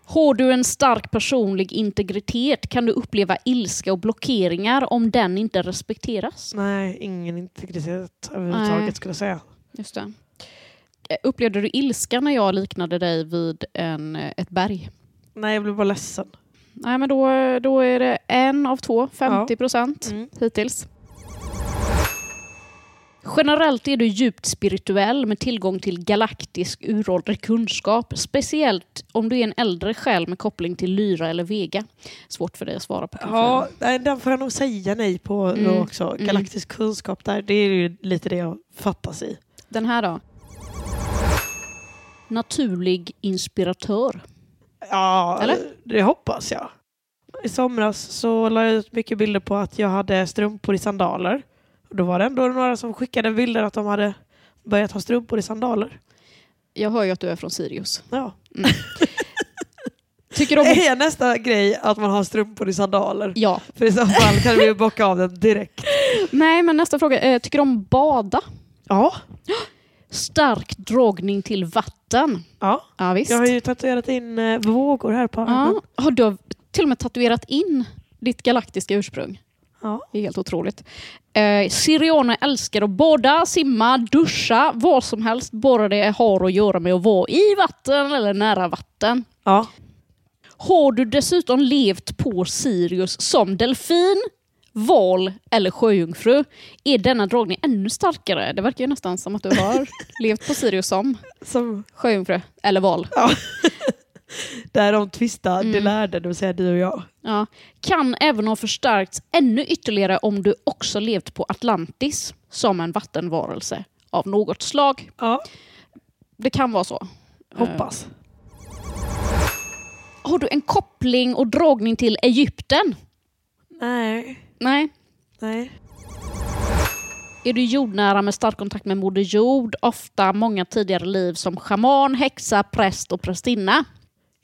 A: Har du en stark personlig integritet kan du uppleva ilska och blockeringar om den inte respekteras.
B: Nej, ingen integritet
A: Nej.
B: överhuvudtaget skulle jag säga.
A: Just det. Eh, Upplevde du ilska när jag liknade dig vid en, eh, ett berg?
B: Nej, jag blev bara ledsen.
A: Nej, men då, då är det en av två, 50 procent
B: Mm.
A: hittills. Generellt är du djupt spirituell med tillgång till galaktisk uråldrig kunskap. Speciellt om du är en äldre själ med koppling till Lyra eller Vega. Svårt för dig att svara på. kanske.
B: Ja, nej, den får jag nog säga nej på
A: Mm.
B: då också. Galaktisk kunskap där, det är ju lite det jag fattas i.
A: Den här då? Naturlig inspiratör.
B: Ja,
A: Eller?
B: det hoppas jag. I somras så la jag ut mycket bilder på att jag hade strumpor i sandaler. Och Då var det ändå några som skickade bilder att de hade börjat ha strumpor i sandaler.
A: Jag hör ju att du är från Sirius.
B: Ja.
A: Tycker du om...
B: Är nästa grej att man har strumpor i sandaler?
A: Ja.
B: För i så fall kan vi ju bocka av den direkt.
A: Nej, men nästa fråga. Eh, Tycker du om bada?
B: Ja,
A: Stark dragning till vatten.
B: ja.
A: Ja, visst.
B: jag har ju Mm. tatuerat in eh, vågor här på armen.
A: ja. Har du till och med tatuerat in ditt galaktiska ursprung?
B: Ja.
A: Det är helt otroligt. Eh, Syrianer älskar att bada, simma, duscha, vad som helst. Bara det har att göra med att vara i vatten eller nära vatten.
B: Ja.
A: Har du dessutom levt på Sirius som delfin, val eller sjöjungfru är denna dragning ännu starkare. Det verkar ju nästan som att du har levt på Sirius som
B: Som
A: sjöjungfru eller val.
B: där de tvistar, det lärde, det vill säga du och jag.
A: Ja. Kan även ha förstärkts ännu ytterligare om du också levt på Atlantis som en vattenvarelse av något slag.
B: Ja,
A: Det kan vara så.
B: Eh. hoppas.
A: Har du en koppling och dragning till Egypten?
B: Nej,
A: Nej.
B: nej.
A: Är du jordnära med stark kontakt med Moder Jord, ofta många tidigare liv som schaman, häxa, präst och prästinna?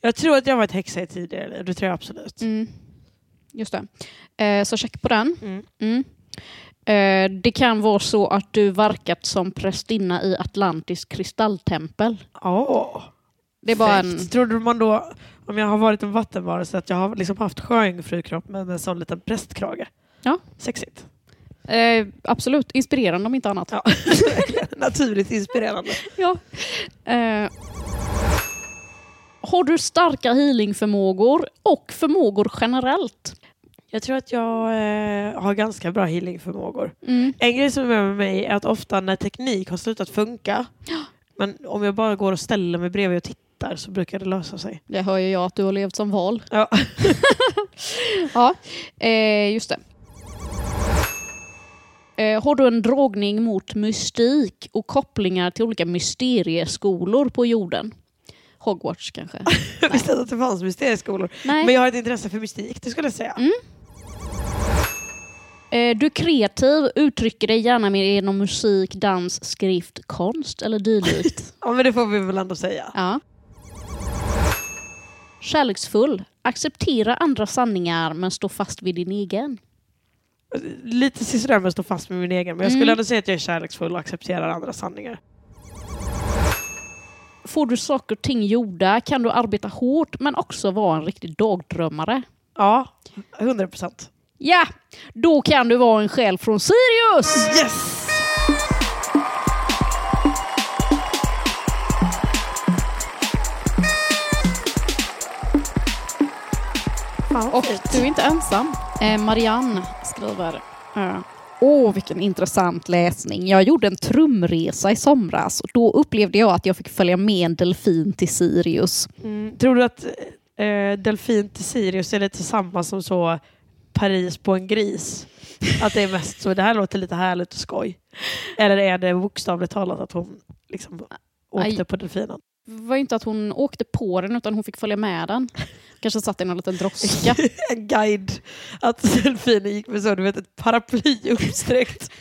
B: Jag tror att jag varit häxa i tidigare liv, det tror jag absolut.
A: Mm. Just det. Eh, så check på den.
B: Mm.
A: Mm. Eh, det kan vara så att du verkat som prästinna i Atlantis kristalltempel.
B: Ja.
A: Det är bara en...
B: Fräckt. Trodde man då, om jag har varit en vattenvarelse, att jag har liksom haft sjöjungfrukropp men med en sån liten prästkrage?
A: Ja.
B: Sexigt.
A: Eh, absolut, inspirerande om inte annat.
B: Ja. Naturligt inspirerande.
A: Ja. Eh. Har du starka healingförmågor och förmågor generellt?
B: Jag tror att jag eh, har ganska bra healingförmågor.
A: Mm.
B: En grej som är med mig är att ofta när teknik har slutat funka, men om jag bara går och ställer mig bredvid och tittar så brukar det lösa sig.
A: Det hör ju jag att du har levt som val.
B: Ja.
A: Ja, eh, just det. Eh, har du en dragning mot mystik och kopplingar till olika mysterieskolor på jorden? Hogwarts kanske?
B: Jag visste inte att det fanns mysterieskolor.
A: Nej. Mm.
B: Men jag har ett intresse för mystik, det skulle jag säga.
A: Eh, du är kreativ, uttrycker dig gärna mer genom musik, dans, skrift, konst eller dylikt.
B: Ja, men det får vi väl ändå säga.
A: ja. Kärleksfull, acceptera andra sanningar men stå fast vid din egen.
B: Lite sisådär med att stå fast med min egen, men jag skulle
A: Mm.
B: ändå säga att jag är kärleksfull och accepterar andra sanningar.
A: Får du saker och ting gjorda kan du arbeta hårt men också vara en riktig dagdrömmare.
B: Ja, 100 procent.
A: Ja, då kan du vara en själ från Sirius!
B: Yes! Fan, vad
A: Och
B: fint.
A: du är inte ensam. Eh, Marianne skriver. eh, Åh, vilken intressant läsning. Jag gjorde en trumresa i somras och då upplevde jag att jag fick följa med en delfin till Sirius.
B: Mm, tror du att eh, delfin till Sirius är lite samma som så Paris på en gris? Att det är mest så, det här låter lite härligt och skoj. Eller är det bokstavligt talat att hon liksom åkte
A: Aj.
B: på delfinen?
A: Det var ju inte att hon åkte på den utan hon fick följa med den. Kanske satt i någon liten droska.
B: En guide. Att delfinen gick med så, du vet, ett paraply uppsträckt.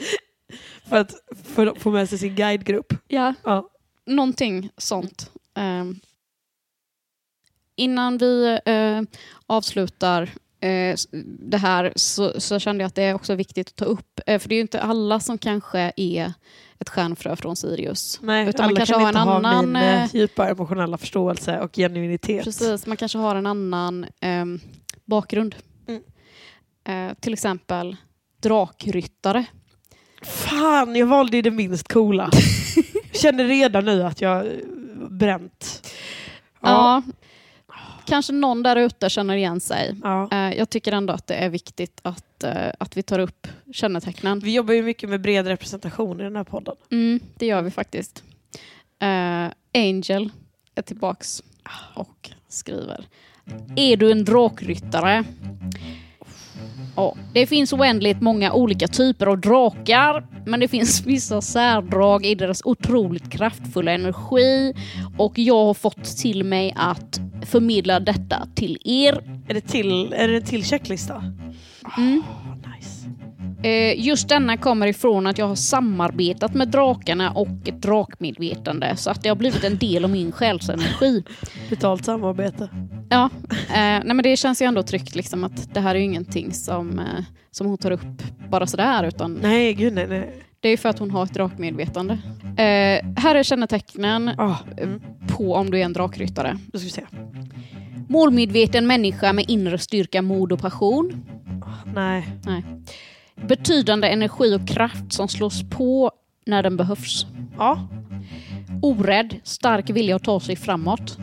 B: För att för, få med sig sin guidegrupp.
A: Ja,
B: Ja.
A: någonting sånt. Ehm. innan vi eh, avslutar eh, s- det här så, så kände jag att det är också viktigt att ta upp. Eh, för det är ju inte alla som kanske är ett stjärnfrö från Sirius.
B: Nej,
A: Utan man
B: alla
A: kanske
B: kan
A: har
B: inte
A: en
B: ha
A: annan,
B: min eh,
A: eh,
B: djupa emotionella förståelse och genuinitet.
A: Precis, man kanske har en annan ehm, bakgrund.
B: Mm.
A: Eh, till exempel drakryttare.
B: Fan, jag valde ju det minst coola. Jag känner redan nu att jag eh, bränt.
A: Ja. Kanske någon där ute känner igen sig.
B: ja.
A: Eh, jag tycker ändå att det är viktigt att, eh, att vi tar upp kännetecknen.
B: Vi jobbar ju mycket med bred representation i den här podden.
A: Mm, det gör vi faktiskt. Eh, Angel är tillbaks och skriver. Är du en drakryttare? Ja, det finns oändligt många olika typer av drakar, men det finns vissa särdrag i deras otroligt kraftfulla energi och jag har fått till mig att förmedla detta till er.
B: Är det, till, är det en till checklista?
A: Mm.
B: Oh, nice.
A: Eh, Just denna kommer ifrån att jag har samarbetat med drakarna och ett drakmedvetande så att det har blivit en del av min själsenergi.
B: Betalt samarbete.
A: Ja, eh, nej men det känns ju ändå tryggt liksom att det här är ju ingenting som, eh, som hon tar upp bara sådär utan
B: Nej, gud nej. nej.
A: det är ju för att hon har ett drakmedvetande. Eh, här är kännetecknen
B: Ah, mm.
A: på om du är en drakryttare.
B: Då ska vi se.
A: Målmedveten människa med inre styrka, mod och passion.
B: Nej.
A: Betydande energi och kraft som slås på när den behövs.
B: Ja.
A: Orädd, stark vilja att ta sig framåt.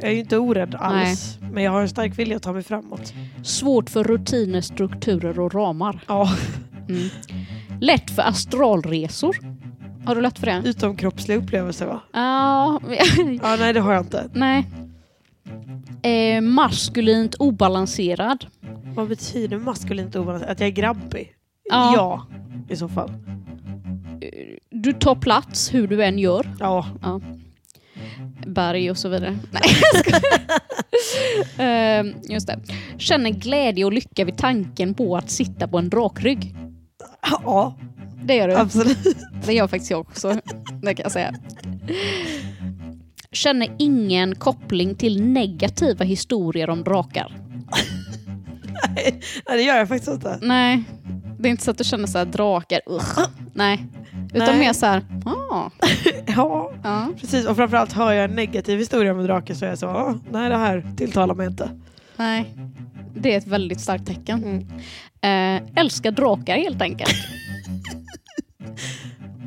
B: Jag är ju inte orädd alls. Men jag har en stark vilja att ta mig framåt.
A: Svårt för rutiner, strukturer och ramar.
B: Ja.
A: Mm. Lätt för astralresor. Har du lätt för det?
B: Utomkroppsliga upplevelser va?
A: Ja,
B: Ja, nej det har jag inte.
A: nej. Eh, maskulint obalanserad.
B: Vad betyder maskulint obalans? Att jag är grabbig?
A: Ja.
B: ja. I så fall.
A: Du tar plats hur du än gör.
B: Ja, Mm.
A: Berg och så vidare. Nej, jag skojar. eh, Just det. Känner glädje och lycka vid tanken på att sitta på en drakrygg.
B: ja
A: Det gör du.
B: absolut.
A: Det gör faktiskt jag också, det kan jag säga. Känner ingen koppling till negativa historier om drakar.
B: Nej, det gör jag faktiskt inte.
A: Nej, det är inte så att du känner så här drakar, usch. Nej, utan
B: Nej.
A: mer så här, ah,
B: Ja,
A: ja.
B: precis. Och framförallt hör jag en negativ historia med draken så är jag så, "Ah, nej det här tilltalar mig inte.
A: Nej. Det är ett väldigt starkt tecken.
B: Mm.
A: Eh, älskar drakar helt enkelt.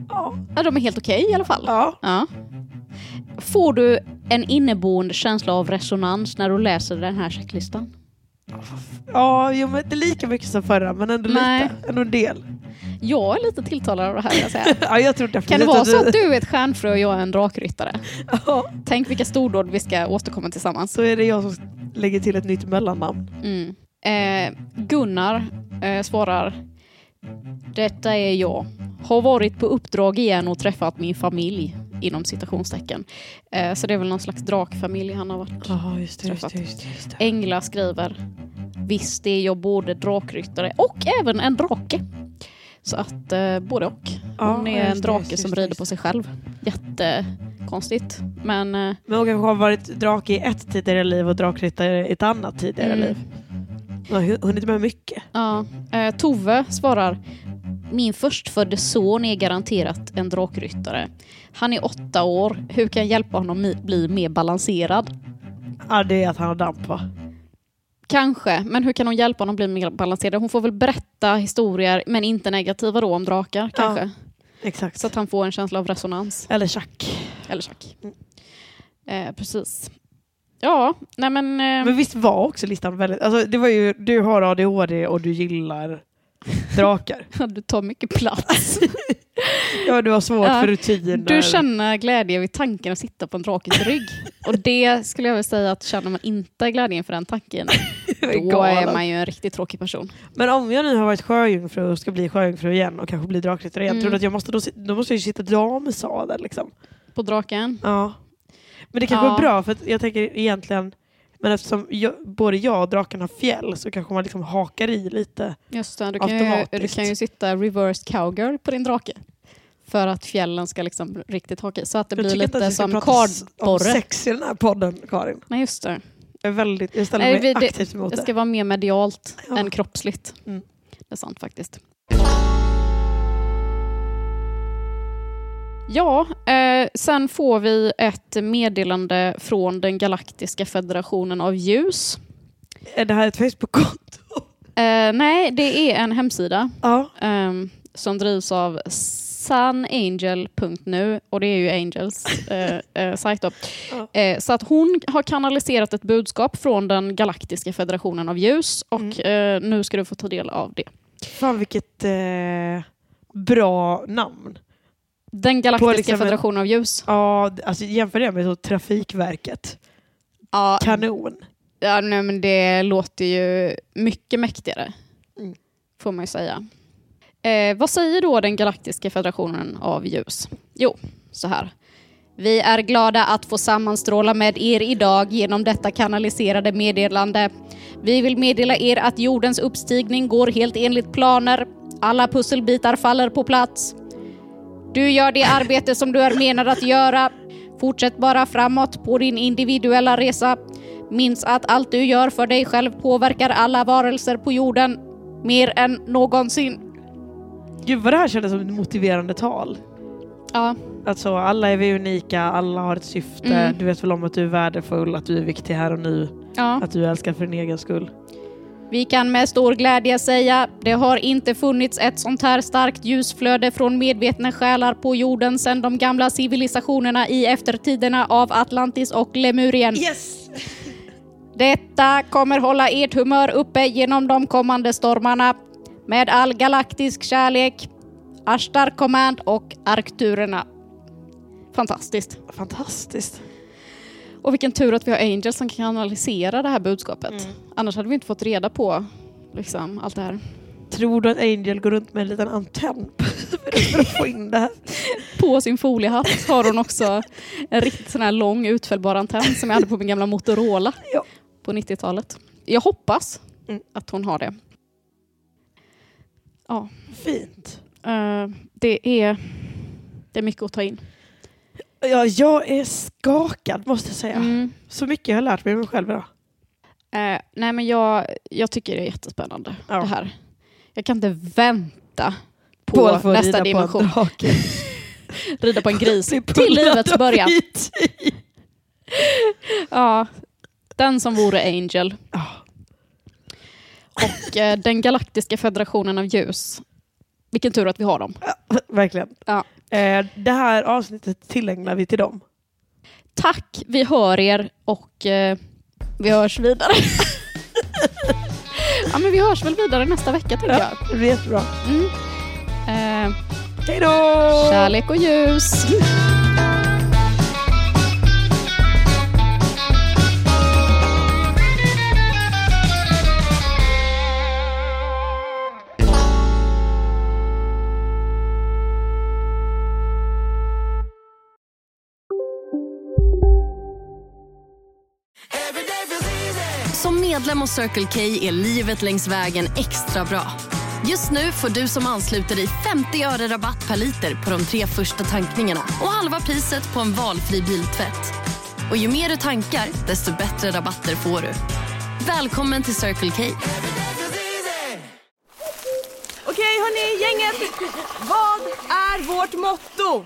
B: Ja.
A: Ja, de är helt okej i alla fall.
B: Ja,
A: Ja. Får du en inneboende känsla av resonans när du läser den här checklistan?
B: ja jo, men inte lika mycket som förra men ändå
A: Nej.
B: lite. Ändå en del.
A: Jag är lite tilltalad av det här. Jag säger.
B: Ja, jag tror
A: Kan
B: definitivt
A: det vara så
B: du-
A: att du är ett stjärnfrö och jag är en drakryttare?
B: Ja,
A: Tänk vilka stordåd vi ska återkomma tillsammans.
B: så är det jag som lägger till ett nytt mellannamn.
A: Mm. Eh, Gunnar eh, svarar Detta är jag. Har varit på uppdrag igen och träffat min familj inom citationstecken. Eh, så det är väl någon slags drakfamilj han har varit.
B: Ja, just
A: det, just det,
B: just det.
A: Engla skriver Visst är jag både drakryttare och även en drake. Så att eh, både och. Hon är en drake som rider på sig själv. Jättekonstigt. Men eh,
B: Men hon kanske har varit drake i ett tidigare liv och drakryttare i ett annat tidigare
A: Mm.
B: liv. Hon har hunnit med mycket.
A: ja. Eh, Tove svarar Min förstfödde son är garanterat en drakryttare. Han är åtta år. Hur kan jag hjälpa honom mi- bli mer balanserad?
B: Ja, det är att han har damp va?
A: Kanske, men hur kan hon hjälpa honom bli mer balanserad? Hon får väl berätta historier, men inte negativa då om drakar kanske.
B: Exakt.
A: Så att han får en känsla av resonans.
B: Eller tjack.
A: Eller schack.
B: Mm.
A: Eh, precis. Ja, nej men... Eh,
B: Men visst var också listan väldigt... Alltså det var ju, du har ADHD och du gillar drakar.
A: du tar mycket plats.
B: Ja, du har svårt
A: Ja.
B: för rutiner.
A: Du känner glädje vid tanken att sitta på en drakes rygg. Och det skulle jag väl säga att känner man inte glädje inför den tanken,
B: Det är
A: då är
B: galet.
A: man ju en riktigt tråkig person.
B: Men om jag nu har varit sjöjungfru och ska bli sjöjungfru igen och kanske bli drakryttare igen,
A: Mm.
B: tror du att jag måste, då, si- då måste jag ju sitta damsadel liksom?
A: På draken?
B: Ja. Men det kanske
A: Ja.
B: är bra för att jag tänker egentligen, men eftersom jag, både jag och draken har fjäll så kanske man liksom hakar i lite.
A: Just det, du kan, ju,
B: Automatiskt.
A: du kan ju sitta reversed cowgirl på din drake. För att fjällen ska liksom riktigt haka i. Så att det
B: jag
A: blir
B: tycker inte att
A: lite
B: vi ska
A: som
B: prata s- om
A: kardborre.
B: sex i den här podden, Karin.
A: Nej, just det.
B: Jag, är väldigt, jag ställer
A: Nej,
B: mig
A: vi- det-
B: aktivt emot
A: Det
B: det.
A: ska vara mer medialt
B: Ja.
A: än kroppsligt.
B: Mm.
A: Det är sant faktiskt. Ja, eh, sen får vi ett meddelande från den galaktiska federationen av ljus.
B: Är det här ett Facebook-konto?
A: Eh, nej, det är en hemsida
B: Ja.
A: ehm, som drivs av sunangel.nu och det är ju Angels eh, eh, sajt. Då.
B: Ja.
A: Eh, så att hon har kanaliserat ett budskap från den galaktiska federationen av ljus och
B: Mm.
A: eh, nu ska du få ta del av det.
B: Fan vilket eh, bra namn.
A: Den galaktiska
B: På liksom
A: federationen av ljus.
B: Ja, d- alltså jämför det med så Trafikverket.
A: Ja,
B: Kanon.
A: ja, nej, men det låter ju mycket mäktigare.
B: Mm.
A: Får man ju säga. Eh, vad säger då den galaktiska federationen av ljus? Jo, så här. Vi är glada att få sammanstråla med er idag genom detta kanaliserade meddelande. Vi vill meddela er att jordens uppstigning går helt enligt planer. Alla pusselbitar faller på plats. Du gör det arbete som du är menad att göra. Fortsätt bara framåt på din individuella resa. Minns att allt du gör för dig själv påverkar alla varelser på jorden mer än någonsin.
B: Gud vad det här kändes som ett motiverande tal.
A: Ja,
B: Alltså alla är vi unika, alla har ett syfte.
A: Mm.
B: Du vet väl om att du är värdefull, att du är viktig här och nu.
A: ja.
B: Att du älskar för din egen skull.
A: Vi kan med stor glädje säga, det har inte funnits ett sånt här starkt ljusflöde från medvetna själar på jorden sedan de gamla civilisationerna i eftertiderna av Atlantis och Lemurien.
B: Yes!
A: Detta kommer hålla ert humör uppe genom de kommande stormarna. Med all galaktisk kärlek, Ashtar Command och Arkturerna. Fantastiskt.
B: Fantastiskt.
A: Och vilken tur att vi har Angel som kan analysera det här budskapet. Annars hade vi inte fått reda på liksom, allt det här.
B: Tror du att Angel går runt med en liten antenn för att få in det här?
A: På sin foliehatt har hon också en riktigt sån här lång utfällbar antenn som jag hade på min gamla Motorola
B: Ja.
A: på 90-talet. Jag hoppas
B: Mm.
A: att hon har det. Ja,
B: Fint.
A: eh, det, är, det är mycket att ta in.
B: Ja, jag är skakad måste jag säga.
A: Mm.
B: Så mycket jag har lärt mig om mig själv idag.
A: Eh, nej men jag, jag tycker det är jättespännande
B: Ja.
A: det här. Jag kan inte vänta på
B: Paul får rida
A: nästa
B: på
A: dimension.
B: en drake.
A: rida på en gris
B: Bli
A: till livets
B: pullad
A: början.
B: av hit.
A: Ja, den som vore Angel.
B: Ja.
A: Och eh, den galaktiska federationen av ljus. Vilken tur att vi har dem.
B: Verkligen.
A: Ja.
B: Eh, det här avsnittet tillägnar vi till dem.
A: Tack, vi hör er och eh, vi hörs vidare. ja, men vi hörs väl vidare nästa vecka tänker jag.
B: Det blir jättebra.
A: Mm. Eh,
B: Hej då!
A: kärlek och ljus.
F: Som medlem hos Circle K är livet längs vägen extra bra. Just nu får du som ansluter dig 50 öre rabatt per liter på de tre första tankningarna och halva priset på en valfri biltvätt. Och ju mer du tankar, desto bättre rabatter får du. Välkommen till Circle K.
G: Okej hörni, gänget. Vad är vårt motto?